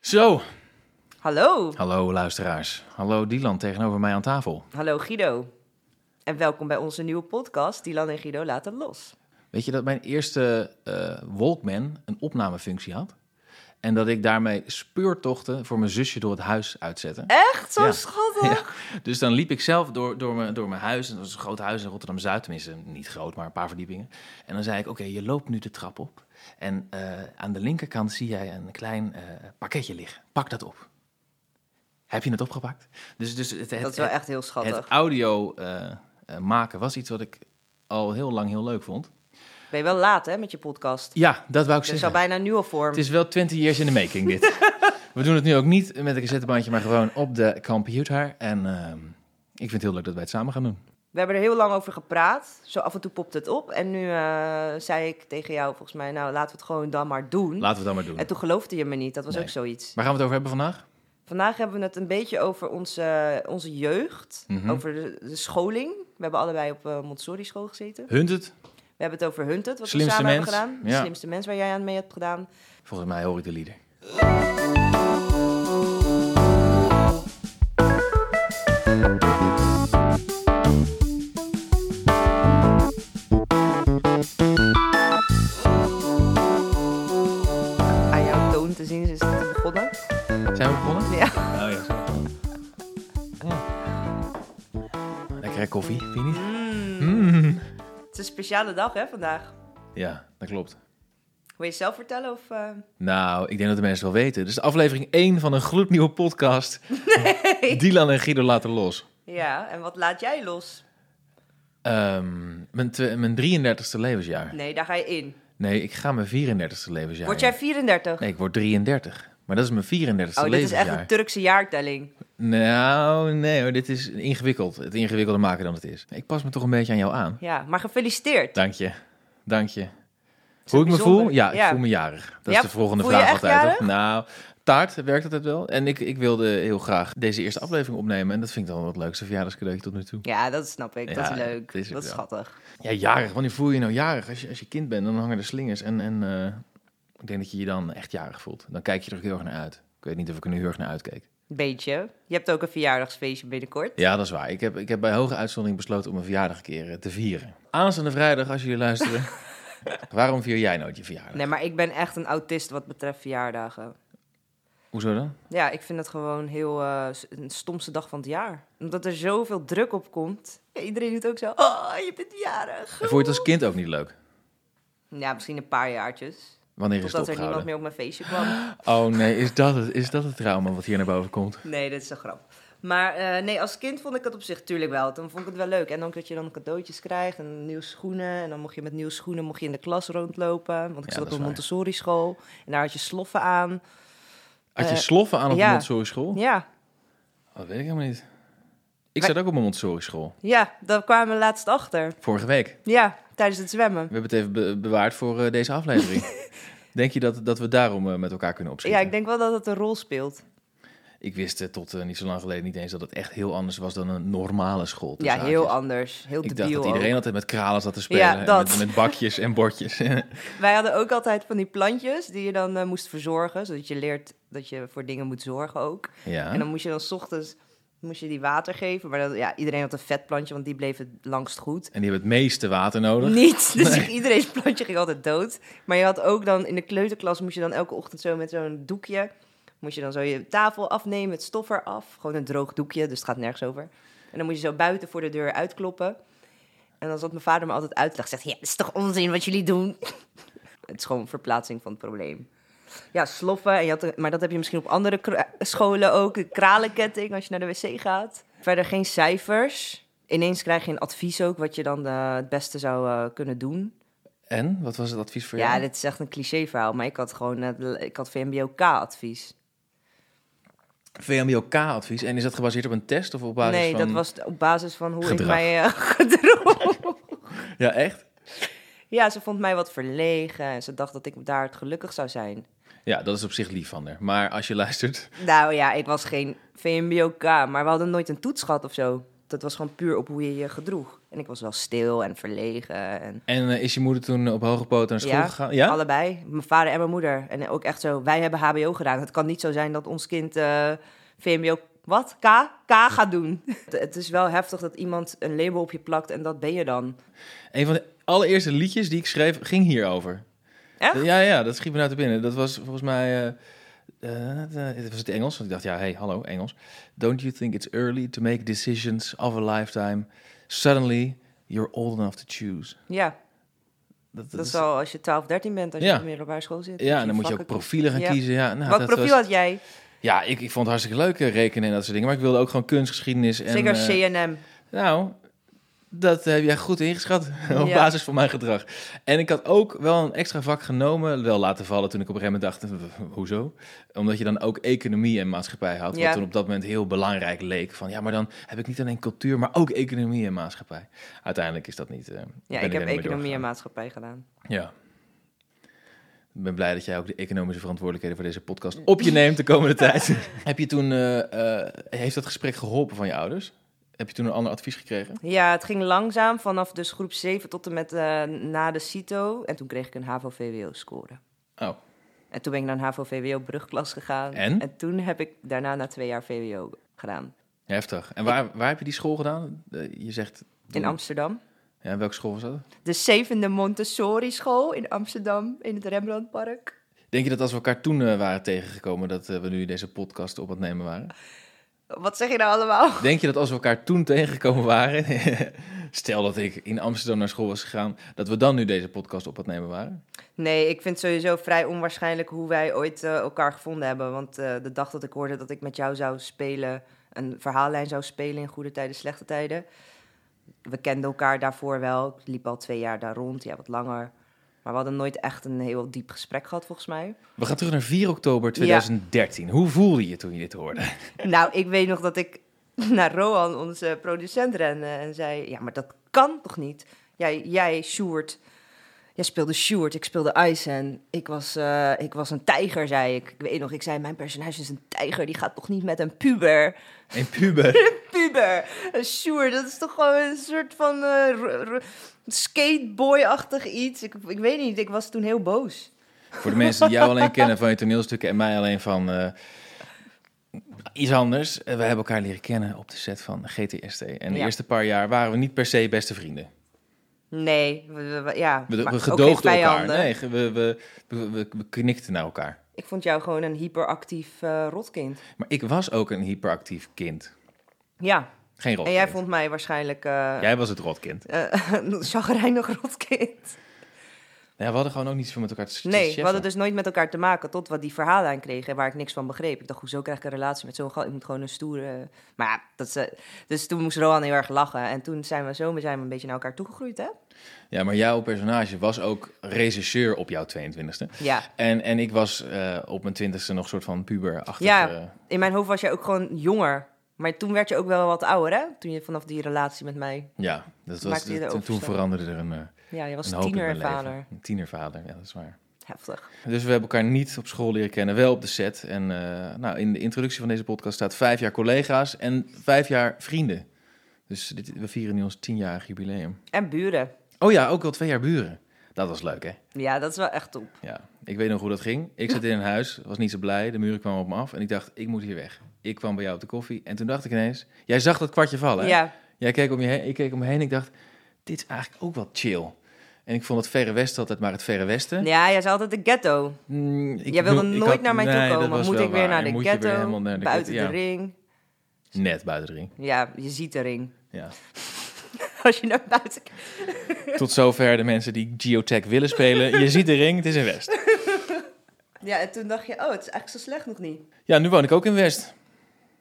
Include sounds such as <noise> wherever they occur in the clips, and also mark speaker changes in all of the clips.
Speaker 1: Zo.
Speaker 2: Hallo.
Speaker 1: Hallo luisteraars. Hallo Dylan tegenover mij aan tafel.
Speaker 2: Hallo Guido. En welkom bij onze nieuwe podcast, Dylan en Guido laten los.
Speaker 1: Weet je dat mijn eerste eh, Walkman een opnamefunctie had? En dat ik daarmee speurtochten voor mijn zusje door het huis
Speaker 2: Eh,
Speaker 1: uitzette.
Speaker 2: Echt zo
Speaker 1: Ja.
Speaker 2: schattig.
Speaker 1: Dus dan liep ik zelf door, door, mijn, door mijn huis. En dat was een groot huis in Rotterdam-Zuid. Tenminste, niet groot, maar een paar verdiepingen. En dan zei ik, oké, je loopt nu de trap op. En eh, aan de linkerkant zie jij een klein eh, pakketje liggen. Pak dat op. Heb je het opgepakt? Dus, dus het, het,
Speaker 2: Dat is wel
Speaker 1: het-
Speaker 2: echt heel
Speaker 1: het
Speaker 2: schattig.
Speaker 1: audio eh, eh, maken was iets wat ik al heel lang heel leuk vond.
Speaker 2: Ben je wel laat hè met je podcast?
Speaker 1: Ja, dat wou ik
Speaker 2: Dus
Speaker 1: zeggen.
Speaker 2: al bijna nu al vorm.
Speaker 1: Het is wel 20 years in the making
Speaker 2: <laughs>
Speaker 1: dit. We doen het nu ook niet met een cassettebandje, maar gewoon op de computer. En ehm, ik vind het heel leuk dat wij het samen gaan doen.
Speaker 2: We hebben er heel lang over gepraat. Zo af en toe popt het op. En nu eh, zei ik tegen jou volgens mij, nou laten we het gewoon dan maar doen.
Speaker 1: Laten we dat maar doen.
Speaker 2: En toen geloofde je me niet. Dat was
Speaker 1: Nee.
Speaker 2: ook zoiets.
Speaker 1: Waar gaan we het over hebben vandaag?
Speaker 2: Vandaag hebben we het een beetje over onze, onze jeugd.
Speaker 1: Mhm.
Speaker 2: Over de, de scholing. We hebben allebei op eh, Montessori-school gezeten.
Speaker 1: Hunt het?
Speaker 2: We hebben het over Hunted, wat
Speaker 1: Slimste
Speaker 2: we samen
Speaker 1: mens,
Speaker 2: hebben gedaan.
Speaker 1: ja.
Speaker 2: De slimste mens waar jij aan mee hebt gedaan.
Speaker 1: Volgens mij hoor ik de lieder.
Speaker 2: Aan jouw toon te zien is het begonnen.
Speaker 1: Zijn we begonnen?
Speaker 2: Ja.
Speaker 1: Oh ja. zo. ja. Lekkere koffie, vind je niet? Mm.
Speaker 2: Het is een speciale dag hè, vandaag.
Speaker 1: Ja, dat klopt.
Speaker 2: Wil je het zelf vertellen? Of, eh,
Speaker 1: Nou, ik denk dat de mensen het wel weten. Dit is de aflevering 1 van een gloednieuwe podcast. Dylan en Guido laten los.
Speaker 2: Ja, en wat laat jij los?
Speaker 1: Ehm, mijn, twe- mijn 33ste levensjaar.
Speaker 2: Nee, daar ga je in.
Speaker 1: Nee, ik ga mijn 34ste levensjaar.
Speaker 2: Word
Speaker 1: in.
Speaker 2: jij 34?
Speaker 1: Nee, ik word 33. Maar dat is mijn 34ste
Speaker 2: oh, dit is
Speaker 1: levensjaar.
Speaker 2: echt een Turkse jaartelling.
Speaker 1: Nou, nee hoor, dit is ingewikkeld. Het ingewikkelder maken dan het is. Ik pas me toch een beetje aan jou aan.
Speaker 2: Ja, maar gefeliciteerd.
Speaker 1: Dank je. Dank je.
Speaker 2: is
Speaker 1: Hoe ik me
Speaker 2: bijzonder.
Speaker 1: voel? Ja, ik
Speaker 2: Ja.
Speaker 1: voel me jarig. Dat
Speaker 2: Ja,
Speaker 1: is de volgende
Speaker 2: voel je
Speaker 1: vraag
Speaker 2: echt
Speaker 1: altijd. Toch? Nou, taart werkt altijd wel. En ik, ik wilde heel graag deze eerste aflevering opnemen. En dat vind ik dan wel het leukste verjaardagscadeautje tot nu toe.
Speaker 2: Ja, dat snap ik. Dat
Speaker 1: Ja,
Speaker 2: is leuk.
Speaker 1: het is ook
Speaker 2: dat is
Speaker 1: wel.
Speaker 2: schattig.
Speaker 1: Ja, jarig. Wanneer voel je je nou jarig? Als je, als je kind bent, dan hangen er slingers. En, en eh, ik denk dat je je dan echt jarig voelt. Dan kijk je er ook heel erg naar uit. Ik weet niet of ik er nu heel erg naar uitkeek.
Speaker 2: Beetje. Je hebt ook een verjaardagsfeestje binnenkort.
Speaker 1: Ja, dat is waar. Ik heb, ik heb bij hoge uitzondering besloten om mijn verjaardag een keer eh, te vieren. Aanstaande vrijdag, als jullie
Speaker 2: <laughs>
Speaker 1: luisteren. Waarom vier jij nooit je verjaardag?
Speaker 2: Nee, maar ik ben echt een autist wat betreft verjaardagen.
Speaker 1: Hoezo dan?
Speaker 2: Ja, ik vind het gewoon heel eh, s- een stomste dag van het jaar. Omdat er zoveel druk op komt. Ja, iedereen doet ook zo, oh, je bent jarig.
Speaker 1: En vond je het als kind ook niet leuk?
Speaker 2: Ja, misschien een paar jaartjes.
Speaker 1: Wanneer is het
Speaker 2: Totdat er niemand
Speaker 1: opgehouden?
Speaker 2: meer op mijn feestje
Speaker 1: <gasps>
Speaker 2: kwam.
Speaker 1: Oh nee, is dat, het, is dat het trauma wat hier naar boven komt?
Speaker 2: Nee, dat is een grap. Maar eh, nee, als kind vond ik het op zich natuurlijk wel. Dan vond ik het wel leuk. En dan dat je dan cadeautjes krijgt en nieuwe schoenen. En dan mocht je met nieuwe schoenen mocht je in de klas rondlopen. Want ik
Speaker 1: Ja, dat
Speaker 2: zat op
Speaker 1: is
Speaker 2: een
Speaker 1: waar.
Speaker 2: Montessori school. En daar had je sloffen aan.
Speaker 1: Had je
Speaker 2: Eh,
Speaker 1: sloffen aan op
Speaker 2: ja.
Speaker 1: de Montessori school?
Speaker 2: Ja,
Speaker 1: Dat weet ik helemaal niet. Ik
Speaker 2: Maar-
Speaker 1: zat ook op een Montessori school.
Speaker 2: ja, daar kwamen we laatst achter.
Speaker 1: Vorige week.
Speaker 2: Ja, tijdens het zwemmen.
Speaker 1: We hebben het even be- bewaard voor eh, deze aflevering.
Speaker 2: <laughs>
Speaker 1: Denk je dat, dat we daarom eh, met elkaar kunnen
Speaker 2: Ja,
Speaker 1: opschieten?
Speaker 2: ik denk wel dat het een rol speelt.
Speaker 1: Ik wist eh, tot eh, niet zo lang geleden niet eens dat het echt heel anders was dan een normale school. tussen
Speaker 2: Ja, heel
Speaker 1: haakjes.
Speaker 2: anders. Heel
Speaker 1: Ik dacht
Speaker 2: debiel
Speaker 1: dat iedereen
Speaker 2: ook.
Speaker 1: altijd met kralen zat te spelen. en
Speaker 2: dat.
Speaker 1: Met, met bakjes en
Speaker 2: <laughs>
Speaker 1: bordjes.
Speaker 2: Wij hadden ook altijd van die plantjes die je dan eh, moest verzorgen. Zodat je leert dat je voor dingen moet zorgen ook.
Speaker 1: ja.
Speaker 2: En dan moest je dan 's ochtends moest je die water geven. Maar dan, ja, iedereen had een vetplantje, want die bleef het langst goed.
Speaker 1: En die hebben het meeste water nodig.
Speaker 2: Niet, dus <laughs> iedereen's plantje ging altijd dood. Maar je had ook dan in de kleuterklas moest je dan elke ochtend zo met zo'n doekje... moest je dan zo je tafel afnemen, het stof eraf. Gewoon een droog doekje, dus het gaat nergens over. En dan moest je zo buiten voor de deur uitkloppen. En dan zat mijn vader me altijd uit te leggen. Zegt, ja, dat is toch onzin wat jullie doen? <laughs> het is gewoon verplaatsing van het probleem. Ja, sloffen. En je had, maar dat heb je misschien op andere kra- scholen ook. De kralenketting als je naar de wc gaat. Verder geen cijfers. Ineens krijg je een advies ook wat je dan eh, het beste zou eh, kunnen doen.
Speaker 1: En, wat was het advies voor jou?
Speaker 2: Ja, dit is echt een cliché verhaal. Maar ik had gewoon eh, ik had VMBOK-advies.
Speaker 1: VMBOK-advies. En is dat gebaseerd op een test of op basis
Speaker 2: nee,
Speaker 1: van...
Speaker 2: dat was op basis van hoe
Speaker 1: Gedrag.
Speaker 2: ik mij eh, <laughs> gedroeg.
Speaker 1: Ja, echt?
Speaker 2: ja, ze vond mij wat verlegen. En ze dacht dat ik daar het gelukkig zou zijn.
Speaker 1: Ja, dat is op zich lief van haar. Maar als je luistert...
Speaker 2: Nou ja, ik was geen VMBOK, maar we hadden nooit een toets gehad of zo. dat was gewoon puur op hoe je je gedroeg. En ik was wel stil en verlegen. En
Speaker 1: En eh, is je moeder toen op hoge poten naar school
Speaker 2: Ja,
Speaker 1: gegaan? Ja?
Speaker 2: Allebei, mijn vader en mijn moeder. En ook echt zo, wij hebben HBO gedaan. Het kan niet zo zijn dat ons kind eh, VMBO, wat? K? K gaat doen. <laughs> het, het is wel heftig dat iemand een label op je plakt en dat ben je dan.
Speaker 1: Een van de allereerste liedjes die ik schreef ging hierover.
Speaker 2: Echt?
Speaker 1: Ja, ja, dat schiet me nou te binnen. Dat was volgens mij... eh eh, eh, het was het Engels, want ik dacht, ja, hey, hallo, Engels. Don't you think it's early to make decisions of a lifetime? Suddenly, you're old enough to choose.
Speaker 2: Ja,
Speaker 1: Dat,
Speaker 2: dat is al als je 12, 13 bent, als je
Speaker 1: Ja.
Speaker 2: op de middelbare school zit.
Speaker 1: Ja,
Speaker 2: Dat
Speaker 1: en dan moet je ook
Speaker 2: vakken-
Speaker 1: profielen gaan
Speaker 2: Ja.
Speaker 1: kiezen. Ja, nou,
Speaker 2: Wat
Speaker 1: dat
Speaker 2: profiel
Speaker 1: was-
Speaker 2: had jij?
Speaker 1: ja ik, ik vond het hartstikke leuk eh, rekenen en dat soort dingen. Maar ik wilde ook gewoon kunstgeschiedenis. En,
Speaker 2: Zeker
Speaker 1: eh,
Speaker 2: CNM.
Speaker 1: Nou, dat heb jij goed ingeschat <laughs> op
Speaker 2: Ja.
Speaker 1: basis van mijn gedrag. En ik had ook wel een extra vak genomen, wel laten vallen toen ik op een gegeven moment dacht, hoezo? Omdat je dan ook economie en maatschappij had,
Speaker 2: Ja.
Speaker 1: wat toen op dat moment heel belangrijk leek. Van ja, maar dan heb ik niet alleen cultuur, maar ook economie en maatschappij. Uiteindelijk is dat niet. eh, ben
Speaker 2: Ja, ik
Speaker 1: er niet
Speaker 2: heb
Speaker 1: mee
Speaker 2: economie en
Speaker 1: doorgegaan.
Speaker 2: maatschappij gedaan.
Speaker 1: Ja. Ik ben blij dat jij ook de economische verantwoordelijkheden voor deze podcast op je neemt de komende tijd. Heb je toen, eh, eh, heeft dat gesprek geholpen van je ouders? Heb je toen een ander advies gekregen?
Speaker 2: Ja, het ging langzaam vanaf dus groep 7 tot en met eh, na de CITO. En toen kreeg ik een HAVO-VWO-score.
Speaker 1: Oh.
Speaker 2: En toen ben ik naar een HAVO-VWO-brugklas gegaan.
Speaker 1: En?
Speaker 2: toen heb ik daarna na twee jaar VWO gedaan.
Speaker 1: Heftig. En waar, waar heb je die school gedaan? Eh, Je zegt...
Speaker 2: In Amsterdam.
Speaker 1: Ja, welke school was dat?
Speaker 2: De zevende Montessori-school in Amsterdam, in het Rembrandtpark.
Speaker 1: Denk je dat als we elkaar toen eh, waren tegengekomen, dat eh, we nu deze podcast op aan het nemen waren?
Speaker 2: Wat zeg je nou allemaal?
Speaker 1: Denk je dat als we elkaar toen tegengekomen waren, <laughs> stel dat ik in Amsterdam naar school was gegaan, dat we dan nu deze podcast op aan het nemen waren?
Speaker 2: Nee, ik vind sowieso vrij onwaarschijnlijk hoe wij ooit eh, elkaar gevonden hebben. Want eh, de dag dat ik hoorde dat ik met jou zou spelen, een verhaallijn zou spelen in goede tijden, slechte tijden. We kenden elkaar daarvoor wel. Ik liep al twee jaar daar rond, ja, wat langer. Maar we hadden nooit echt een heel diep gesprek gehad, volgens mij.
Speaker 1: We gaan terug naar 4 oktober 2013. Hoe voelde je toen je dit
Speaker 2: <laughs>
Speaker 1: hoorde?
Speaker 2: Nou, ik weet nog dat ik <laughs> naar Roan, onze producent, rende en zei... Ja, maar dat kan toch niet? Jij, jij Sjoerd, jij speelde Sjoerd, ik speelde Ice en ik was, eh, ik was een tijger, zei ik. Ik weet nog, ik zei, mijn personage is een tijger, die gaat toch niet met een puber?
Speaker 1: Een puber.
Speaker 2: Puber! Een Sjoerd, dat is toch gewoon een soort van eh, ro- ro- skateboy-achtig iets? Ik, ik weet niet, ik was toen heel boos.
Speaker 1: Voor de mensen die jou alleen kennen van je toneelstukken en mij alleen van eh, iets anders. Eh, we hebben elkaar leren kennen op de set van GTST. En de
Speaker 2: Ja.
Speaker 1: eerste paar jaar waren we niet per se beste vrienden.
Speaker 2: Nee, we- we- we- ja.
Speaker 1: We,
Speaker 2: maar
Speaker 1: we
Speaker 2: ook
Speaker 1: gedoogden
Speaker 2: geen
Speaker 1: elkaar.
Speaker 2: vijanden.
Speaker 1: Nee, ge- we, we, we, we- we knikten naar elkaar.
Speaker 2: Ik vond jou gewoon een hyperactief eh, rotkind.
Speaker 1: Maar ik was ook een hyperactief kind.
Speaker 2: Ja,
Speaker 1: Geen rotkind.
Speaker 2: en jij vond mij waarschijnlijk eh
Speaker 1: Jij was het rotkind.
Speaker 2: eh, <laughs> een chagrijnig rotkind.
Speaker 1: Ja, we hadden gewoon ook niets van met elkaar te te
Speaker 2: Nee, we
Speaker 1: scheffen.
Speaker 2: hadden dus nooit met elkaar te maken tot we die verhalen aan kregen waar ik niks van begreep. Ik dacht, hoezo krijg ik een relatie met zo'n gal? Ik moet gewoon een stoere... Maar ja, dat is, eh, dus toen moest Rohan heel erg lachen. En toen zijn we zo zijn we een beetje naar elkaar toegegroeid, hè?
Speaker 1: Ja, maar jouw personage was ook regisseur op jouw 22e.
Speaker 2: Ja.
Speaker 1: En, en ik was eh, op mijn twintigste nog soort van puberachtig.
Speaker 2: Ja,
Speaker 1: eh,
Speaker 2: in mijn hoofd was jij ook gewoon jonger. Maar toen werd je ook wel wat ouder, hè? Toen je vanaf die relatie met mij...
Speaker 1: ja, dat was,
Speaker 2: Maakte je de
Speaker 1: toen- toen
Speaker 2: overstap?
Speaker 1: veranderde er een, eh,
Speaker 2: Ja, je was
Speaker 1: een hoop in mijn
Speaker 2: tiener
Speaker 1: leven.
Speaker 2: vader.
Speaker 1: Een tienervader, ja, dat is waar.
Speaker 2: Heftig.
Speaker 1: Dus we hebben elkaar niet op school leren kennen, wel op de set. En eh, nou, in de introductie van deze podcast staat vijf jaar collega's en vijf jaar vrienden. Dus dit, we vieren nu ons tienjarig jubileum.
Speaker 2: En buren.
Speaker 1: Oh ja, ook wel twee jaar buren. Dat was leuk, hè?
Speaker 2: Ja, dat is wel echt top.
Speaker 1: Ja, ik weet nog hoe dat ging. Ik zat in een huis, was niet zo blij. De muren kwamen op me af en ik dacht, ik moet hier weg. Ik kwam bij jou op de koffie en toen dacht ik ineens... Jij zag dat kwartje vallen, hè?
Speaker 2: Ja,
Speaker 1: Jij keek om je heen, ik keek om me heen en ik dacht, dit is eigenlijk ook wel chill. En ik vond het Verre Westen altijd maar het Verre Westen.
Speaker 2: ja jij zei altijd de ghetto.
Speaker 1: Mm, ik
Speaker 2: Jij wilde
Speaker 1: bedoel, ik
Speaker 2: nooit
Speaker 1: had-
Speaker 2: naar mij
Speaker 1: nee,
Speaker 2: toe
Speaker 1: dat
Speaker 2: komen.
Speaker 1: was
Speaker 2: Moet
Speaker 1: wel
Speaker 2: ik weer
Speaker 1: waar.
Speaker 2: naar
Speaker 1: En
Speaker 2: de
Speaker 1: moet je weer
Speaker 2: ghetto?
Speaker 1: helemaal naar de
Speaker 2: buiten
Speaker 1: ghetto,
Speaker 2: de ring.
Speaker 1: ja. Net buiten de ring,
Speaker 2: Ja, je ziet de ring. <laughs>
Speaker 1: ja. <laughs>
Speaker 2: Als je naar buiten kijkt.
Speaker 1: Tot zover de mensen die geotech willen spelen. Je ziet de ring, het is in West.
Speaker 2: Ja, en toen dacht je, oh, het is eigenlijk zo slecht nog niet.
Speaker 1: Ja, nu woon ik ook in West.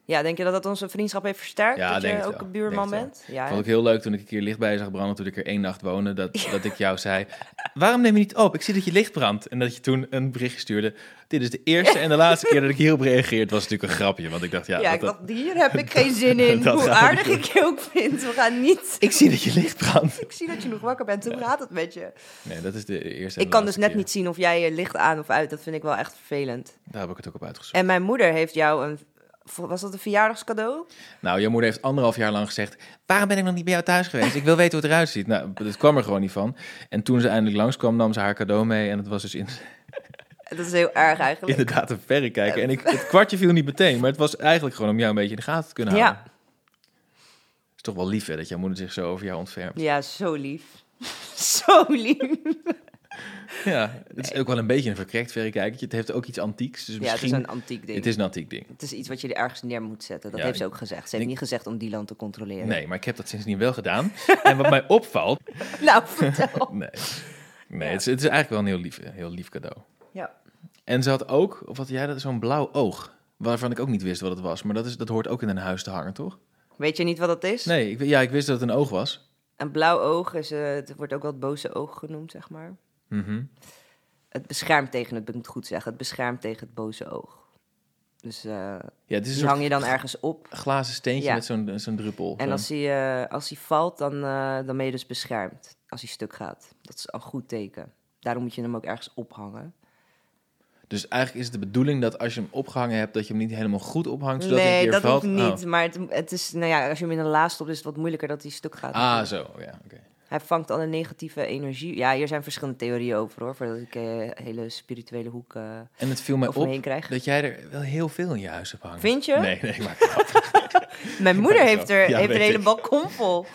Speaker 2: Ja, denk je dat dat onze vriendschap heeft versterkt?
Speaker 1: Ja,
Speaker 2: dat
Speaker 1: denk
Speaker 2: je
Speaker 1: het
Speaker 2: ook
Speaker 1: wel.
Speaker 2: een buurman
Speaker 1: Denk het
Speaker 2: bent? Ja,
Speaker 1: Vond ik heel leuk toen ik een keer licht bij zag branden, toen ik er één nacht woonde, dat, dat ik jou zei, waarom neem je niet op? Ik zie dat je licht brandt. En dat je toen een berichtje stuurde, dit is de eerste en de laatste keer dat ik hierop reageer. Het was natuurlijk een grapje, want ik dacht, ja,
Speaker 2: ja,
Speaker 1: wat
Speaker 2: ik
Speaker 1: dat-
Speaker 2: dacht, hier heb ik
Speaker 1: <laughs>
Speaker 2: geen zin in.
Speaker 1: dat
Speaker 2: Hoe
Speaker 1: gaan we
Speaker 2: aardig
Speaker 1: doen.
Speaker 2: ik je ook vind. We gaan niet...
Speaker 1: ik zie dat je licht brandt.
Speaker 2: Ik zie dat je nog wakker bent. Hoe gaat het met je?
Speaker 1: Nee, dat is de eerste en
Speaker 2: Ik
Speaker 1: de
Speaker 2: kan dus
Speaker 1: laatste
Speaker 2: net
Speaker 1: keer.
Speaker 2: niet zien of jij je licht aan of uit. Dat vind ik wel echt vervelend.
Speaker 1: Daar heb ik het ook op uitgezocht.
Speaker 2: En mijn moeder heeft jou een was dat een verjaardagscadeau?
Speaker 1: Nou, je moeder heeft anderhalf jaar lang gezegd... waarom ben ik nog niet bij jou thuis geweest? Ik wil weten hoe het eruit ziet. Nou, dat kwam er gewoon niet van. En toen ze eindelijk langskwam, nam ze haar cadeau mee... en het was dus in,
Speaker 2: Dat is heel erg eigenlijk.
Speaker 1: inderdaad een verrekijker.
Speaker 2: <laughs>
Speaker 1: En ik, het kwartje viel niet meteen, maar het was eigenlijk gewoon... om jou een beetje in de gaten te kunnen
Speaker 2: Ja.
Speaker 1: houden. Het is toch wel lief, hè, dat jouw moeder zich zo over jou ontfermt.
Speaker 2: Ja, zo lief. <laughs> zo lief.
Speaker 1: Ja, het is ook wel een beetje een verkrekt verrekijkertje. Het heeft ook iets antieks, dus
Speaker 2: Ja, het
Speaker 1: misschien...
Speaker 2: is een antiek ding.
Speaker 1: het is een antiek ding.
Speaker 2: Het is iets wat je ergens neer moet zetten. Dat
Speaker 1: Ja,
Speaker 2: heeft ze
Speaker 1: ik-
Speaker 2: ook gezegd. Ze heeft
Speaker 1: ik-
Speaker 2: niet gezegd om Dylan te controleren.
Speaker 1: Nee, maar ik heb dat sindsdien wel gedaan. En wat mij opvalt...
Speaker 2: <laughs> Nou,
Speaker 1: <laughs>
Speaker 2: vertel.
Speaker 1: Nee, nee het, is, het is eigenlijk wel een heel lief, heel lief cadeau.
Speaker 2: ja.
Speaker 1: En ze had ook, of had jij dat, zo'n blauw oog. Waarvan ik ook niet wist wat het was. Maar dat, is, dat hoort ook in een huis te hangen, toch?
Speaker 2: Weet je niet wat dat is?
Speaker 1: Nee, ik, ja, ik wist dat het een oog was.
Speaker 2: Een blauw oog is, eh, het wordt ook wel het boze oog genoemd, zeg maar.
Speaker 1: Mhm.
Speaker 2: Het beschermt tegen, het moet ik het goed zeggen, het beschermt tegen het boze oog. Dus eh,
Speaker 1: Ja, het is een
Speaker 2: die
Speaker 1: soort
Speaker 2: hang je dan ergens op.
Speaker 1: glazen steentje
Speaker 2: Ja.
Speaker 1: met zo'n zo'n druppel.
Speaker 2: En
Speaker 1: Zo'n-
Speaker 2: als hij, eh, als hij valt, dan, eh, dan ben je dus beschermd. Als hij stuk gaat. Dat is een goed teken. Daarom moet je hem ook ergens ophangen.
Speaker 1: Dus eigenlijk is het de bedoeling dat als je hem opgehangen hebt, dat je hem niet helemaal goed ophangt. Zodat hij een
Speaker 2: Nee,
Speaker 1: keer
Speaker 2: dat
Speaker 1: valt.
Speaker 2: hoeft
Speaker 1: Oh.
Speaker 2: niet. Maar het, het is, nou ja, als je hem in een la stopt, is het wat moeilijker dat hij stuk gaat.
Speaker 1: Ah, zo. Ja, oké.
Speaker 2: Hij vangt alle negatieve energie. Ja, hier zijn verschillende theorieën over hoor. Voordat ik eh, hele spirituele hoek eh,
Speaker 1: En het viel mij
Speaker 2: over me heen
Speaker 1: op
Speaker 2: krijg.
Speaker 1: dat jij er wel heel veel in je huis hebt hangen.
Speaker 2: Vind je?
Speaker 1: Nee, nee, maar
Speaker 2: <laughs>
Speaker 1: oké,
Speaker 2: Mijn moeder
Speaker 1: <laughs> Ja,
Speaker 2: heeft
Speaker 1: zo.
Speaker 2: er
Speaker 1: Ja,
Speaker 2: heeft een
Speaker 1: weet
Speaker 2: hele
Speaker 1: ik. <laughs>
Speaker 2: balkon vol.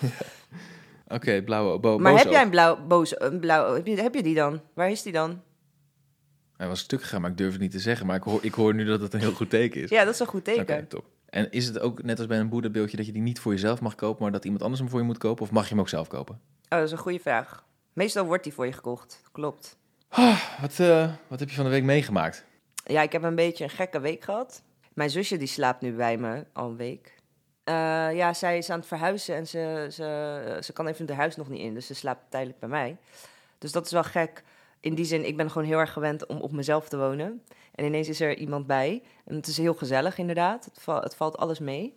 Speaker 1: blauwe bo
Speaker 2: Maar
Speaker 1: boze
Speaker 2: heb jij
Speaker 1: oog.
Speaker 2: een blauw, boze, een blauw, heb je, heb je die dan? Waar is die dan?
Speaker 1: Hij was stuk gegaan, maar ik durf het niet te zeggen. Maar ik hoor, ik hoor nu dat het een heel goed teken is.
Speaker 2: Ja, dat is een goed teken.
Speaker 1: Oké, top. En is het ook net als bij een boeddha-beeldje dat je die niet voor jezelf mag kopen, maar dat iemand anders hem voor je moet kopen? Of mag je hem ook zelf kopen?
Speaker 2: Oh, dat is een goede vraag. Meestal wordt die voor je gekocht. Klopt.
Speaker 1: Wat, eh, wat heb je van de week meegemaakt?
Speaker 2: Ja, ik heb een beetje een gekke week gehad. Mijn zusje die slaapt nu bij me al een week. Eh, ja, zij is aan het verhuizen en ze, ze, ze kan even haar huis nog niet in. Dus ze slaapt tijdelijk bij mij. Dus dat is wel gek. In die zin, ik ben gewoon heel erg gewend om op mezelf te wonen. En ineens is er iemand bij. En het is heel gezellig inderdaad. Het, va- het valt alles mee.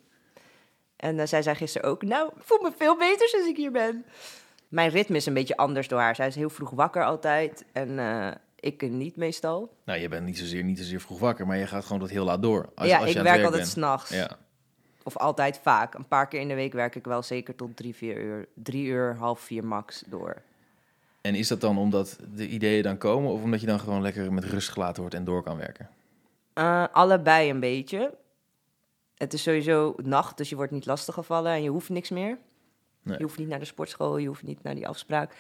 Speaker 2: En eh, zij zei gisteren ook, nou, ik voel me veel beter sinds ik hier ben. Mijn ritme is een beetje anders door haar. Zij is heel vroeg wakker altijd. En eh, ik niet meestal.
Speaker 1: Nou, je bent niet zozeer, niet zozeer vroeg wakker, maar je gaat gewoon tot heel laat door. Als,
Speaker 2: ja,
Speaker 1: als je
Speaker 2: ik
Speaker 1: aan het
Speaker 2: werk altijd
Speaker 1: bent.
Speaker 2: s'nachts.
Speaker 1: Ja.
Speaker 2: Of altijd vaak. Een paar keer in de week werk ik wel zeker tot drie, vier uur. Drie uur, half vier max door.
Speaker 1: En is dat dan omdat de ideeën dan komen of omdat je dan gewoon lekker met rust gelaten wordt en door kan werken?
Speaker 2: Eh, allebei een beetje. Het is sowieso nacht, dus je wordt niet lastiggevallen en je hoeft niks meer.
Speaker 1: Nee.
Speaker 2: Je hoeft niet naar de sportschool, je hoeft niet naar die afspraak.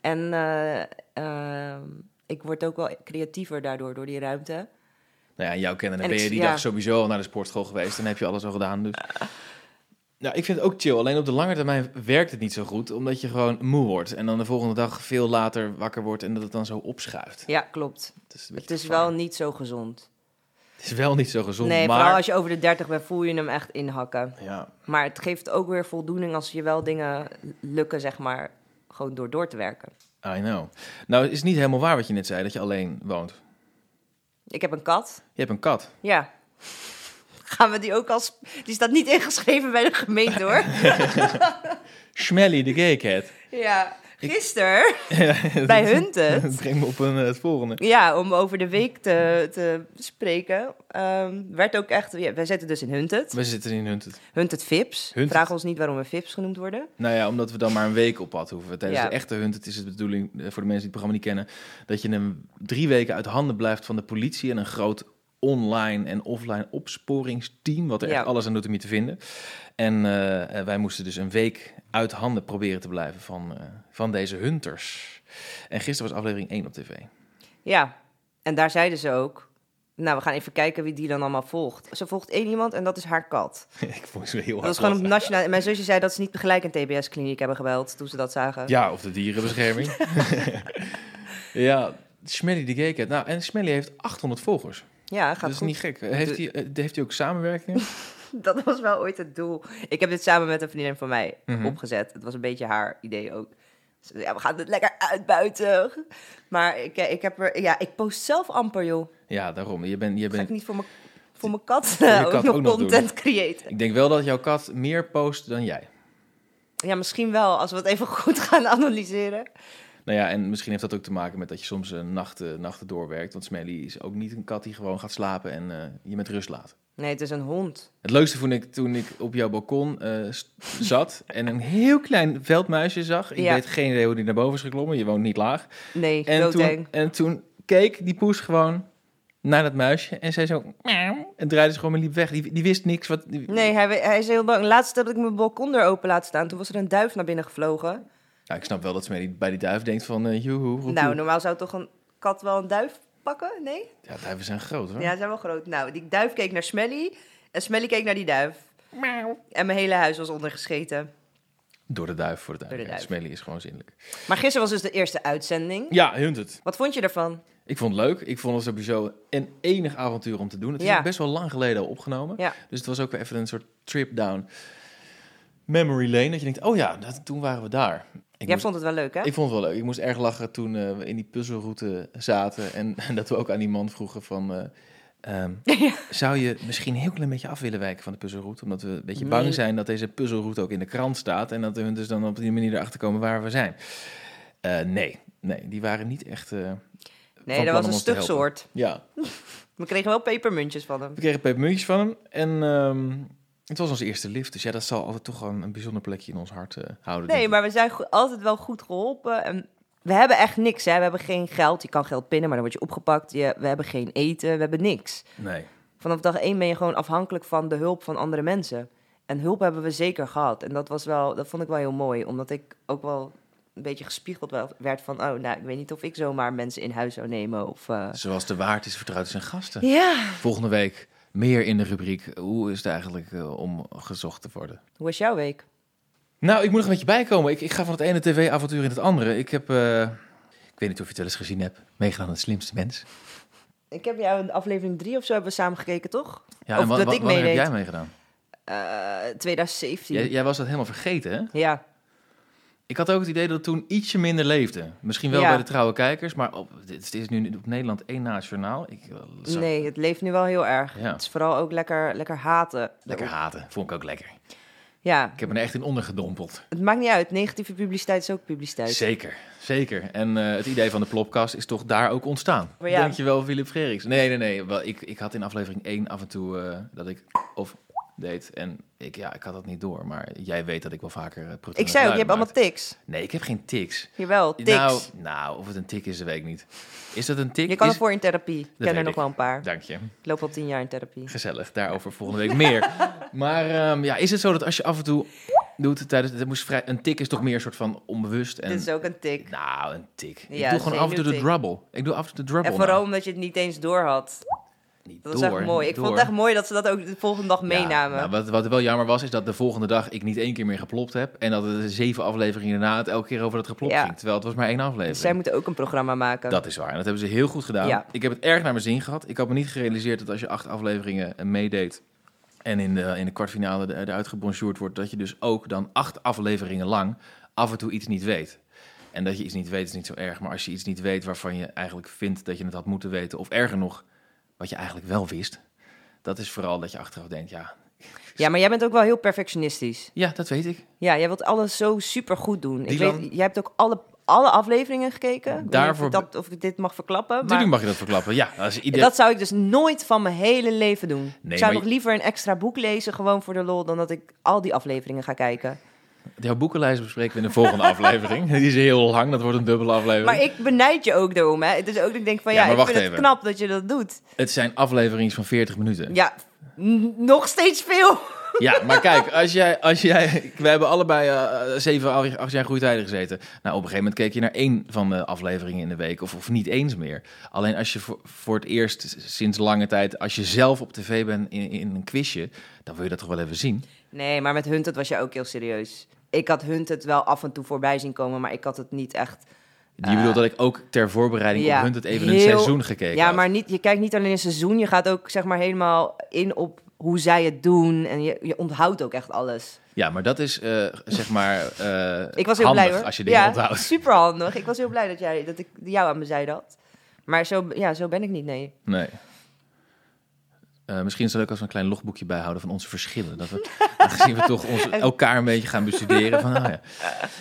Speaker 2: En eh, ehm, ik word ook wel creatiever daardoor, door die ruimte.
Speaker 1: Nou ja, en jou kennen, dan
Speaker 2: En
Speaker 1: ben
Speaker 2: ik-
Speaker 1: je die
Speaker 2: ja. Eh.
Speaker 1: dag sowieso al naar de sportschool geweest. Dan heb je alles al gedaan. Dus. Nou, ik vind het ook chill. Alleen op de lange termijn werkt het niet zo goed. Omdat je gewoon moe wordt. En dan de volgende dag veel later wakker wordt. En dat het dan zo opschuift.
Speaker 2: Ja, klopt.
Speaker 1: Het is, een beetje
Speaker 2: Het is
Speaker 1: gevaarlijk.
Speaker 2: wel niet zo gezond.
Speaker 1: Het is wel niet zo gezond,
Speaker 2: Nee,
Speaker 1: maar...
Speaker 2: vooral als je over de 30 bent, voel je hem echt inhakken.
Speaker 1: Ja,
Speaker 2: Maar het geeft ook weer voldoening als je wel dingen lukken, zeg maar, gewoon door door te werken.
Speaker 1: I know. Nou, het is niet helemaal waar wat je net zei, dat je alleen woont.
Speaker 2: Ik heb een kat.
Speaker 1: Je hebt een kat.
Speaker 2: Ja. <laughs> Gaan we die ook als... Die staat niet ingeschreven bij de gemeente, hoor.
Speaker 1: Smelly de gay cat.
Speaker 2: ja. Gisteren,
Speaker 1: <laughs>
Speaker 2: bij Hunted,
Speaker 1: Dat brengt me op een, eh, het volgende.
Speaker 2: ja, om over de week te, te spreken, ehm, werd ook echt... Ja, wij zitten dus in Hunted.
Speaker 1: We zitten in Hunted.
Speaker 2: Hunted Vips.
Speaker 1: Hunted.
Speaker 2: Vraag ons niet waarom we Vips genoemd worden.
Speaker 1: Nou ja, omdat we dan maar een week op pad hoeven. Tijdens
Speaker 2: Ja.
Speaker 1: de echte Hunted is het de bedoeling, eh, voor de mensen die het programma niet kennen... dat je hem drie weken uit handen blijft van de politie... en een groot online en offline opsporingsteam... wat er
Speaker 2: Ja.
Speaker 1: echt alles aan doet om je te vinden. En eh, eh, wij moesten dus een week uit handen proberen te blijven van, eh, van deze hunters. En gisteren was aflevering 1 op tv. <laughs>
Speaker 2: Ja, en daar zeiden ze ook... Nou, we gaan even kijken wie die dan allemaal volgt. Ze volgt één iemand en dat is haar kat.
Speaker 1: ik vond ze heel
Speaker 2: Dat
Speaker 1: hard
Speaker 2: is gewoon op
Speaker 1: lachen.
Speaker 2: nationaal. en Mijn zusje zei dat ze niet gelijk een TBS-kliniek hebben gebeld toen ze dat zagen.
Speaker 1: Ja, of de
Speaker 2: <laughs>
Speaker 1: dierenbescherming. <laughs> ja, Smelly de Gay Cat. Nou, en Smelly heeft 800 volgers.
Speaker 2: Ja, gaat
Speaker 1: dat is
Speaker 2: goed.
Speaker 1: niet gek. Heeft hij eh, heeft hij ook samenwerkingen?
Speaker 2: <laughs> Dat was wel ooit het doel. Ik heb dit samen met een vriendin van mij
Speaker 1: Mhm.
Speaker 2: opgezet. Het was een beetje haar idee ook. Ze zei, ja, we gaan het lekker uitbuiten. Maar ik, eh, ik heb er... Ja, ik post zelf amper, joh.
Speaker 1: ja, daarom. Je bent, je
Speaker 2: Ga ik
Speaker 1: bent,
Speaker 2: niet voor mijn... Voor mijn kat,
Speaker 1: je
Speaker 2: eh, ook
Speaker 1: kat
Speaker 2: nog
Speaker 1: ook nog
Speaker 2: content creëren.
Speaker 1: ik denk wel dat jouw kat meer post dan jij.
Speaker 2: <laughs> Ja, misschien wel, als we het even goed gaan analyseren.
Speaker 1: Nou ja, en misschien heeft dat ook te maken met dat je soms eh, nachten, nachten doorwerkt. Want Smelly is ook niet een kat die gewoon gaat slapen en eh, je met rust laat.
Speaker 2: Nee, het is een hond.
Speaker 1: Het leukste vond ik toen ik op jouw balkon eh,
Speaker 2: <laughs>
Speaker 1: st- zat en een heel klein veldmuisje zag. Ik
Speaker 2: Ja.
Speaker 1: weet geen idee hoe die naar boven is geklommen, je woont niet laag.
Speaker 2: Nee,
Speaker 1: En
Speaker 2: doodeng.
Speaker 1: toen, en toen keek die poes gewoon naar dat muisje en zei zo... "Miauw," En draaide ze gewoon en liep weg. Die, die wist niks. Wat, die-
Speaker 2: Nee, hij, we- hij is heel bang. Laatst heb ik mijn balkon er open laten staan. Toen was er een duif naar binnen gevlogen.
Speaker 1: Nou, ik snap wel dat Smelly bij die duif denkt van... eh joehoe, roekoe.
Speaker 2: Nou, normaal zou toch een kat wel een duif pakken? Nee?
Speaker 1: Ja, duiven zijn groot hoor.
Speaker 2: Ja, ze zijn wel groot. Nou, die duif keek naar Smelly. En Smelly keek naar die duif. En mijn hele huis was ondergescheten.
Speaker 1: Door de duif voor de duif.
Speaker 2: Door de
Speaker 1: Ja,
Speaker 2: duif.
Speaker 1: Smelly is gewoon zinnelijk.
Speaker 2: Maar gisteren was dus de eerste uitzending.
Speaker 1: Ja, hunt het.
Speaker 2: Wat vond je ervan?
Speaker 1: Ik vond het leuk. Ik vond het sowieso een enig avontuur om te doen. Het is
Speaker 2: Ja.
Speaker 1: ook best wel lang geleden al opgenomen.
Speaker 2: Ja.
Speaker 1: Dus het was ook weer even een soort trip down memory lane. Dat je denkt, oh ja, dat, toen waren we daar. Ik,
Speaker 2: Jij
Speaker 1: moest-
Speaker 2: vond het wel leuk, hè?
Speaker 1: ik vond het wel leuk. Ik moest erg lachen toen eh, we in die puzzelroute zaten. En, <laughs> en dat we ook aan die man vroegen van... eh, ehm,
Speaker 2: <laughs> Ja.
Speaker 1: Zou je misschien een heel klein beetje af willen wijken van de puzzelroute? Omdat we een beetje
Speaker 2: Nee.
Speaker 1: bang zijn dat deze puzzelroute ook in de krant staat. En dat we dus dan op die manier erachter komen waar we zijn. Eh, nee, nee, die waren niet echt... eh,
Speaker 2: Nee,
Speaker 1: van
Speaker 2: dat
Speaker 1: plan
Speaker 2: was
Speaker 1: om
Speaker 2: een
Speaker 1: ons te
Speaker 2: stuk
Speaker 1: helpen.
Speaker 2: soort.
Speaker 1: ja,
Speaker 2: We kregen wel pepermuntjes van hem.
Speaker 1: we kregen pepermuntjes van hem. En ehm, het was onze eerste lift. Dus ja, dat zal altijd toch gewoon een bijzonder plekje in ons hart eh, houden.
Speaker 2: Nee,
Speaker 1: denk ik.
Speaker 2: maar we zijn go- altijd wel goed geholpen. En we hebben echt niks, hè. We hebben geen geld. Je kan geld pinnen, maar dan word je opgepakt. Je, we hebben geen eten, we hebben niks.
Speaker 1: Nee.
Speaker 2: Vanaf dag één ben je gewoon afhankelijk van de hulp van andere mensen. En hulp hebben we zeker gehad. En dat, was wel, dat vond ik wel heel mooi, omdat ik ook wel een beetje gespiegeld wel- werd van... oh, nou, ik weet niet of ik zomaar mensen in huis zou nemen of... eh,
Speaker 1: Zoals de waard is vertrouwd zijn gasten.
Speaker 2: Ja.
Speaker 1: Volgende week meer in de rubriek. Hoe is het eigenlijk eh, om gezocht te worden?
Speaker 2: Hoe was jouw week?
Speaker 1: Nou, ik moet nog een beetje bijkomen. Ik, ik ga van het ene tv-avontuur in het andere. Ik heb, eh, ik weet niet of je het wel eens gezien hebt, meegedaan aan het slimste mens.
Speaker 2: Ik heb jou in aflevering drie of zo hebben we samen gekeken, toch?
Speaker 1: Ja,
Speaker 2: Of
Speaker 1: en wa-
Speaker 2: dat
Speaker 1: wa-
Speaker 2: ik
Speaker 1: wanneer heb
Speaker 2: meedeed.
Speaker 1: jij meegedaan?
Speaker 2: Eh, 2017.
Speaker 1: Jij, jij was dat helemaal vergeten, hè?
Speaker 2: Ja.
Speaker 1: Ik had ook het idee dat het toen ietsje minder leefde. Misschien wel
Speaker 2: Ja.
Speaker 1: bij de trouwe kijkers, maar op, het is nu op Nederland één nationaal. Ik, eh, zag-
Speaker 2: Nee, het leeft nu wel heel erg.
Speaker 1: Ja.
Speaker 2: Het is vooral ook lekker, lekker haten.
Speaker 1: Lekker haten, vond ik ook lekker.
Speaker 2: Ja,
Speaker 1: Ik heb me er echt in ondergedompeld.
Speaker 2: het maakt niet uit. Negatieve publiciteit is ook publiciteit.
Speaker 1: Zeker, zeker. En eh, het idee van de plopkast is toch daar ook ontstaan.
Speaker 2: Maar ja.
Speaker 1: Dankjewel, Philip Gerrits. Nee, nee, nee. Wel, ik, ik had in aflevering 1 af en toe eh, dat ik of deed. En ik, ja, ik had dat niet door. Maar jij weet dat ik wel vaker eh, pruttelende
Speaker 2: ik zei ook, je hebt
Speaker 1: geluiden
Speaker 2: allemaal tics.
Speaker 1: maak. Nee, ik heb geen tics.
Speaker 2: Jawel, tics.
Speaker 1: Nou, nou, of het een tik is, dat weet ik niet. Is dat een tik?
Speaker 2: je kan
Speaker 1: Is-
Speaker 2: ervoor in therapie. Ik ken
Speaker 1: weet
Speaker 2: er nog
Speaker 1: ik.
Speaker 2: wel een paar.
Speaker 1: Dank je.
Speaker 2: Ik loop al tien jaar in therapie.
Speaker 1: Gezellig. Daarover volgende week
Speaker 2: <laughs>
Speaker 1: meer. maar ehm, ja, is het zo dat als je af en toe doet tijdens... Het moest vrij, een tik is toch meer een soort van onbewust. En,
Speaker 2: Dit is ook een tik.
Speaker 1: Nou, een tik. Ik
Speaker 2: Ja,
Speaker 1: doe gewoon af en toe de
Speaker 2: zenuwtik.
Speaker 1: drubbel. Ik doe af en toe de drubbel.
Speaker 2: En vooral
Speaker 1: nou.
Speaker 2: omdat je het niet eens door had.
Speaker 1: Niet
Speaker 2: Dat was
Speaker 1: door,
Speaker 2: echt mooi. Ik
Speaker 1: niet
Speaker 2: vond
Speaker 1: door.
Speaker 2: het echt mooi dat ze dat ook de volgende dag
Speaker 1: Ja,
Speaker 2: meenamen.
Speaker 1: nou, wat, wat wel jammer was, is dat de volgende dag ik niet één keer meer geplopt heb. En dat het zeven afleveringen daarna het elke keer over dat geplopt
Speaker 2: Ja.
Speaker 1: ging. Terwijl het was maar één aflevering.
Speaker 2: dus zij moeten ook een programma maken.
Speaker 1: Dat is waar. En dat hebben ze heel goed gedaan.
Speaker 2: Ja.
Speaker 1: Ik heb het erg naar mijn zin gehad. Ik had me niet gerealiseerd dat als je acht afleveringen eh, meedeed... en in de, in de kwartfinale er- eruit gebonjourd wordt... dat je dus ook dan acht afleveringen lang af en toe iets niet weet. En dat je iets niet weet is niet zo erg. Maar als je iets niet weet waarvan je eigenlijk vindt dat je het had moeten weten... of erger nog, wat je eigenlijk wel wist... dat is vooral dat je achteraf denkt, ja,
Speaker 2: Ja, maar jij bent ook wel heel perfectionistisch.
Speaker 1: ja dat weet ik.
Speaker 2: Ja, jij wilt alles zo super goed doen. Ik
Speaker 1: Dylan?
Speaker 2: weet, jij hebt ook alle, alle afleveringen gekeken. Ik weet niet
Speaker 1: Daarvoor-
Speaker 2: Of ik, dat, of ik dit mag verklappen. Maar
Speaker 1: Natuurlijk mag je dat verklappen. Ja, als ieder...
Speaker 2: dat zou ik dus nooit van mijn hele leven doen. ik
Speaker 1: maar
Speaker 2: zou
Speaker 1: je-
Speaker 2: nog liever een extra boek lezen, gewoon voor de lol, dan dat ik al die afleveringen ga kijken.
Speaker 1: Jouw boekenlijst bespreken we in de volgende aflevering. <laughs> Die is heel lang, dat wordt een dubbele aflevering.
Speaker 2: Maar ik benijd je ook daarom, hè. Het is ook dat ik denk van,
Speaker 1: Ja,
Speaker 2: ja,
Speaker 1: maar
Speaker 2: ik
Speaker 1: wacht
Speaker 2: vind het
Speaker 1: even.
Speaker 2: knap dat je dat doet.
Speaker 1: Het zijn afleveringen van 40 minuten.
Speaker 2: Ja, n- nog steeds veel.
Speaker 1: Ja, maar kijk, als jij, als jij, we hebben allebei eh, zeven, acht acht jaar groeitijden gezeten. Nou, op een gegeven moment keek je naar één van de afleveringen in de week, of, of niet eens meer. Alleen als je voor, voor het eerst sinds lange tijd, als je zelf op tv bent in, in een quizje, dan wil je dat toch wel even zien.
Speaker 2: Nee, maar met Hunted was je ook heel serieus. Ik had Hunted wel af en toe voorbij zien komen, maar ik had het niet echt...
Speaker 1: Je bedoelt dat ik ook ter voorbereiding
Speaker 2: Eh, ja,
Speaker 1: op Hunt het even een
Speaker 2: heel-
Speaker 1: seizoen gekeken
Speaker 2: Ja,
Speaker 1: had.
Speaker 2: maar niet, je kijkt niet alleen een seizoen, je gaat ook zeg maar helemaal in op hoe zij het doen. En je, je onthoudt ook echt alles.
Speaker 1: ja, maar dat is eh, zeg maar eh,
Speaker 2: Ik was heel
Speaker 1: handig
Speaker 2: blij hoor.
Speaker 1: als je dingen
Speaker 2: ja, <laughs>
Speaker 1: onthoudt.
Speaker 2: super handig. Ik was heel blij dat, jij, dat ik jou aan mijn zijde had. Maar zo, ja, zo ben ik niet, nee.
Speaker 1: Nee. Eh, misschien is het leuk als we een klein logboekje bijhouden van onze verschillen. Dat
Speaker 2: <laughs>
Speaker 1: we, aangezien we toch onze, elkaar een beetje gaan bestuderen. Van, ah ja.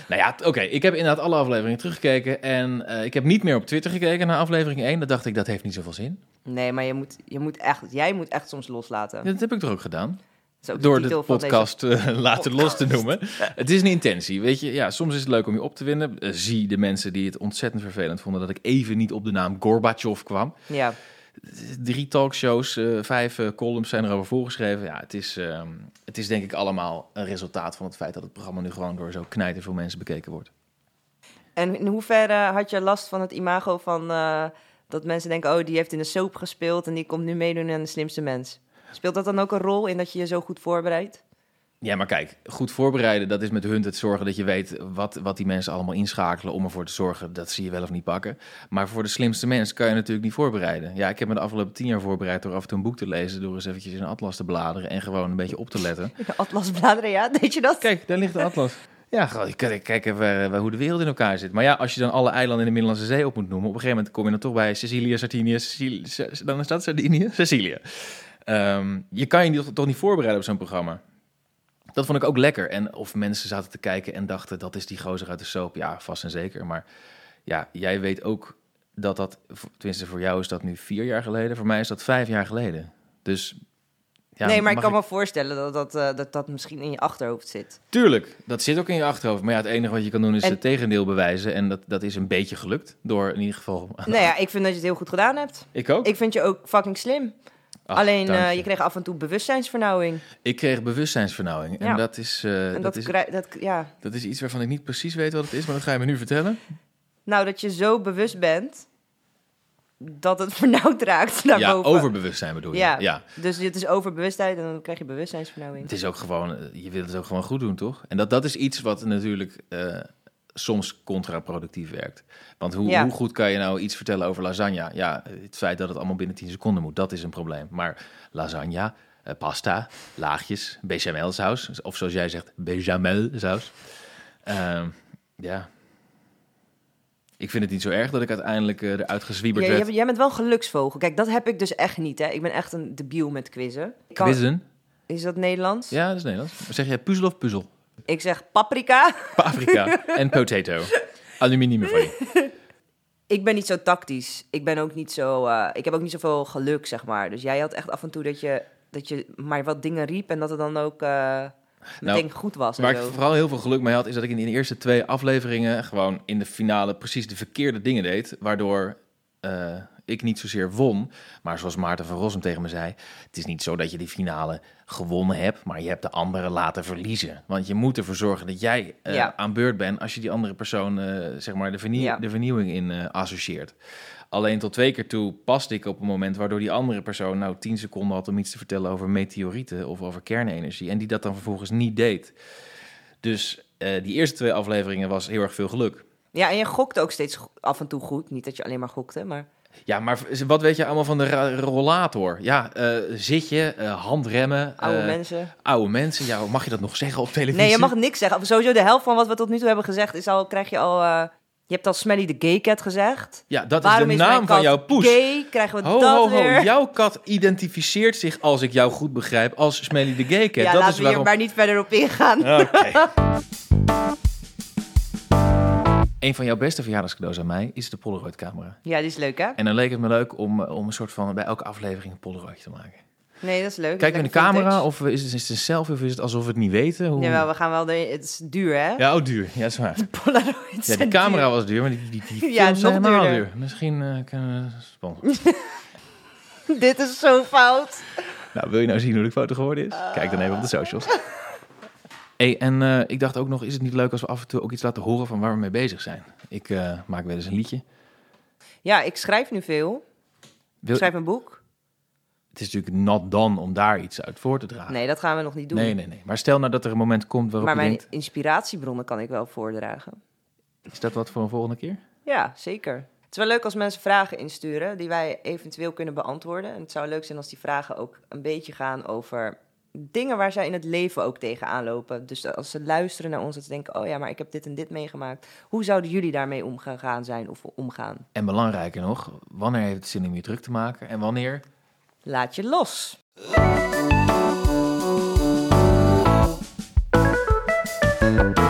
Speaker 1: Nou ja, t- oké. Ik heb inderdaad alle afleveringen teruggekeken. En eh, ik heb niet meer op Twitter gekeken naar aflevering 1. Dat dacht ik, dat heeft niet zoveel zin.
Speaker 2: Nee, maar je moet, je moet echt, jij moet echt soms loslaten.
Speaker 1: Dat heb ik toch ook gedaan.
Speaker 2: Dat is ook
Speaker 1: Door
Speaker 2: de,
Speaker 1: de
Speaker 2: titel van
Speaker 1: podcast eh, <laughs> laten los te noemen. Het is een intentie, weet je. Ja, soms is het leuk om je op te winnen. Eh, zie de mensen die het ontzettend vervelend vonden... dat ik even niet op de naam Gorbachev kwam.
Speaker 2: Deze. Ja.
Speaker 1: drie talkshows, eh, vijf eh, columns zijn erover voorgeschreven. Ja, het is, ehm, het is denk ik allemaal een resultaat van het feit dat het programma nu gewoon door zo knijter veel mensen bekeken wordt.
Speaker 2: En in hoeverre had je last van het imago van eh, dat mensen denken: oh, die heeft in de soap gespeeld en die komt nu meedoen aan de slimste mens? Speelt dat dan ook een rol in dat je je zo goed voorbereidt? <laughs>
Speaker 1: Ja, maar kijk, goed voorbereiden, dat is met Hunt het zorgen dat je weet wat, wat die mensen allemaal inschakelen om ervoor te zorgen dat ze je wel of niet pakken. Maar voor de slimste mens kan je natuurlijk niet voorbereiden. Ja, ik heb me de afgelopen tien jaar voorbereid door af en toe een boek te lezen, door eens eventjes in een atlas te bladeren en gewoon een beetje op te letten.
Speaker 2: De atlasbladeren, ja, deed je dat?
Speaker 1: Kijk, daar ligt de atlas. Ja, gewoon, je kan kijken eh, waar, waar hoe de wereld in elkaar zit. Maar ja, als je dan alle eilanden in de Middellandse Zee op moet noemen... op een gegeven moment kom je dan toch bij Sicilië, Sardinië... Sicilië, Sa- dan is dat Sardinië? <laughs> Sicilië. Ehm, je kan je niet- toch niet voorbereiden op zo'n programma. Dat vond ik ook lekker. En of mensen zaten te kijken en dachten... dat is die gozer uit de soap. Ja, vast en zeker. Maar ja, jij weet ook dat dat... tenminste, voor jou is dat nu vier jaar geleden. Voor mij is dat vijf jaar geleden. Dus... ja,
Speaker 2: nee, maar ik
Speaker 1: mag
Speaker 2: kan me voorstellen dat dat, eh, dat dat misschien in je achterhoofd <laughs> zit.
Speaker 1: Tuurlijk, dat zit ook in je achterhoofd. Maar ja, het enige wat je kan doen is
Speaker 2: En-
Speaker 1: het tegendeel bewijzen. En dat, dat is een beetje gelukt. Door in ieder geval.
Speaker 2: Nou ja, ik vind dat je het heel goed gedaan hebt.
Speaker 1: Ik ook.
Speaker 2: Ik vind je ook fucking slim.
Speaker 1: Ach,
Speaker 2: Alleen
Speaker 1: dank
Speaker 2: eh, je kreeg af en toe bewustzijnsvernauwing.
Speaker 1: Ik kreeg bewustzijnsvernauwing. En
Speaker 2: Ja.
Speaker 1: dat is, eh,
Speaker 2: En
Speaker 1: dat,
Speaker 2: dat,
Speaker 1: is,
Speaker 2: krij- dat, ja.
Speaker 1: dat is iets waarvan ik niet precies weet wat het is. Maar dat ga je me nu vertellen.
Speaker 2: Nou, dat je zo bewust bent dat het <laughs> vernauwd raakt naar
Speaker 1: ja,
Speaker 2: boven.
Speaker 1: overbewustzijn bedoel je.
Speaker 2: Ja.
Speaker 1: ja.
Speaker 2: Dus dit is overbewustheid en dan krijg je bewustzijnsvernauwing.
Speaker 1: Het is ook gewoon, eh, je wilt het ook gewoon goed doen, toch? En dat, dat is iets wat natuurlijk eh, soms contraproductief werkt. Want hoe,
Speaker 2: Ja.
Speaker 1: hoe goed kan je nou iets vertellen over lasagne? Ja, het feit dat het allemaal binnen 10 seconden moet, dat is een probleem. Maar lasagne, eh, pasta, laagjes, bechamelsaus, of zoals jij zegt, bechamelsaus. Ehm ja. Ik vind het niet zo erg dat ik uiteindelijk eh, eruit gezwieberd
Speaker 2: Ja,
Speaker 1: werd.
Speaker 2: jij, bent- jij bent wel een geluksvogel. Kijk, dat heb ik dus echt niet. Hè. Ik ben echt een debiel met quizzen. Ik kan-
Speaker 1: Quizzen?
Speaker 2: Is dat Nederlands?
Speaker 1: Ja, dat is Nederlands. Maar zeg jij puzzel of
Speaker 2: <laughs>
Speaker 1: puzzel?
Speaker 2: Ik zeg paprika. <laughs>
Speaker 1: Paprika en potato. Aluminium van je.
Speaker 2: Ik ben niet zo tactisch. Ik ben ook niet zo. eh, ik heb ook niet zoveel geluk, zeg maar. Dus jij had echt af en toe dat je, dat je maar wat dingen riep en dat het dan ook eh meteen goed was. en
Speaker 1: Waar Nou, ik
Speaker 2: zo.
Speaker 1: vooral heel veel geluk mee had, is dat ik in de eerste twee afleveringen gewoon in de finale precies de verkeerde dingen deed. Waardoor eh, ik niet zozeer won. Maar zoals Maarten van Rossum tegen me zei, het is niet zo dat je die finale gewonnen hebt, maar je hebt de anderen laten verliezen. Want je moet ervoor zorgen dat jij eh,
Speaker 2: Ja.
Speaker 1: aan beurt bent als je die andere persoon eh, zeg maar de, vernieu-
Speaker 2: Ja.
Speaker 1: de vernieuwing in eh, associeert. Alleen tot twee keer toe paste ik op een moment waardoor die andere persoon nou tien seconden had om iets te vertellen over meteorieten of over kernenergie. En die dat dan vervolgens niet deed. Dus eh, die eerste twee afleveringen was heel erg veel geluk.
Speaker 2: Ja, en je gokte ook steeds go- af en toe goed. Niet dat je alleen maar gokte, maar.
Speaker 1: Ja, maar v- wat weet je allemaal van de ra- rollator? Ja, eh, zit je, eh, handremmen,
Speaker 2: Oude
Speaker 1: eh,
Speaker 2: mensen.
Speaker 1: oude mensen. Ja, mag je dat nog zeggen op televisie?
Speaker 2: Nee, je mag niks zeggen. Of Sowieso de helft van wat we tot nu toe hebben gezegd is al. Krijg je al. eh, je hebt al Smelly de Gay Cat gezegd.
Speaker 1: Ja, dat
Speaker 2: Waarom
Speaker 1: is
Speaker 2: is
Speaker 1: de naam
Speaker 2: mijn
Speaker 1: van
Speaker 2: kat
Speaker 1: jouw poes.
Speaker 2: Gay, krijgen we
Speaker 1: Ho,
Speaker 2: dat
Speaker 1: ho, ho.
Speaker 2: weer?
Speaker 1: Jouw kat identificeert zich, als ik jou goed begrijp, als Smelly de Gay Cat.
Speaker 2: ja,
Speaker 1: dat
Speaker 2: laten
Speaker 1: is
Speaker 2: we hier
Speaker 1: waarom...
Speaker 2: maar niet verder op ingaan.
Speaker 1: Oké. Een van jouw beste verjaardagscadeaus aan mij is de Polaroid-camera.
Speaker 2: Ja, die is leuk, hè?
Speaker 1: En dan leek het me leuk om, eh, om een soort van bij elke aflevering een Polaroid te maken.
Speaker 2: Nee, dat is leuk.
Speaker 1: Kijken we in de
Speaker 2: Lekker
Speaker 1: camera
Speaker 2: vintage.
Speaker 1: of is het, is het een selfie of is het alsof we het niet weten? Hoe...
Speaker 2: Jawel, we gaan wel... De... Het is duur, hè?
Speaker 1: Ja, oh, duur. Ja, dat is
Speaker 2: <laughs>
Speaker 1: waar.
Speaker 2: Polaroids
Speaker 1: Ja, die
Speaker 2: zijn
Speaker 1: camera
Speaker 2: duur.
Speaker 1: was duur, maar die, die, die films
Speaker 2: <laughs> Ja,
Speaker 1: zijn
Speaker 2: nog
Speaker 1: helemaal
Speaker 2: duurder.
Speaker 1: duur. Misschien eh, kunnen we
Speaker 2: <laughs>
Speaker 1: sponsoren.
Speaker 2: <laughs> Dit is zo fout.
Speaker 1: nou, wil je nou zien hoe de foto geworden
Speaker 2: Ah.
Speaker 1: is? Kijk dan even op de socials.
Speaker 2: <laughs>
Speaker 1: Hey, en eh, ik dacht ook nog, is het niet leuk als we af en toe ook iets laten horen van waar we mee bezig zijn? Ik eh, maak wel eens een liedje.
Speaker 2: Ja, ik schrijf nu veel. Ik
Speaker 1: Wil,
Speaker 2: schrijf een boek.
Speaker 1: Het is natuurlijk not dan om daar iets uit voor te dragen.
Speaker 2: Nee, dat gaan we nog niet doen.
Speaker 1: Ah. nee, nee, nee. Maar stel nou dat er een moment komt waarop
Speaker 2: maar
Speaker 1: je
Speaker 2: mijn
Speaker 1: denkt,
Speaker 2: inspiratiebronnen kan ik wel voordragen.
Speaker 1: is dat wat voor een volgende keer?
Speaker 2: Ja, zeker. Het is wel leuk als mensen vragen insturen die wij eventueel kunnen beantwoorden. En het zou leuk zijn als die vragen ook een beetje gaan over dingen waar zij in het leven ook tegenaan lopen. Dus als ze luisteren naar ons, dat ze denken: oh ja, maar ik heb dit en dit meegemaakt. Hoe zouden jullie daarmee omgegaan zijn of omgaan?
Speaker 1: En belangrijker nog, wanneer heeft het zin om je druk te maken? En wanneer
Speaker 2: Laat je los.
Speaker 1: Thank you.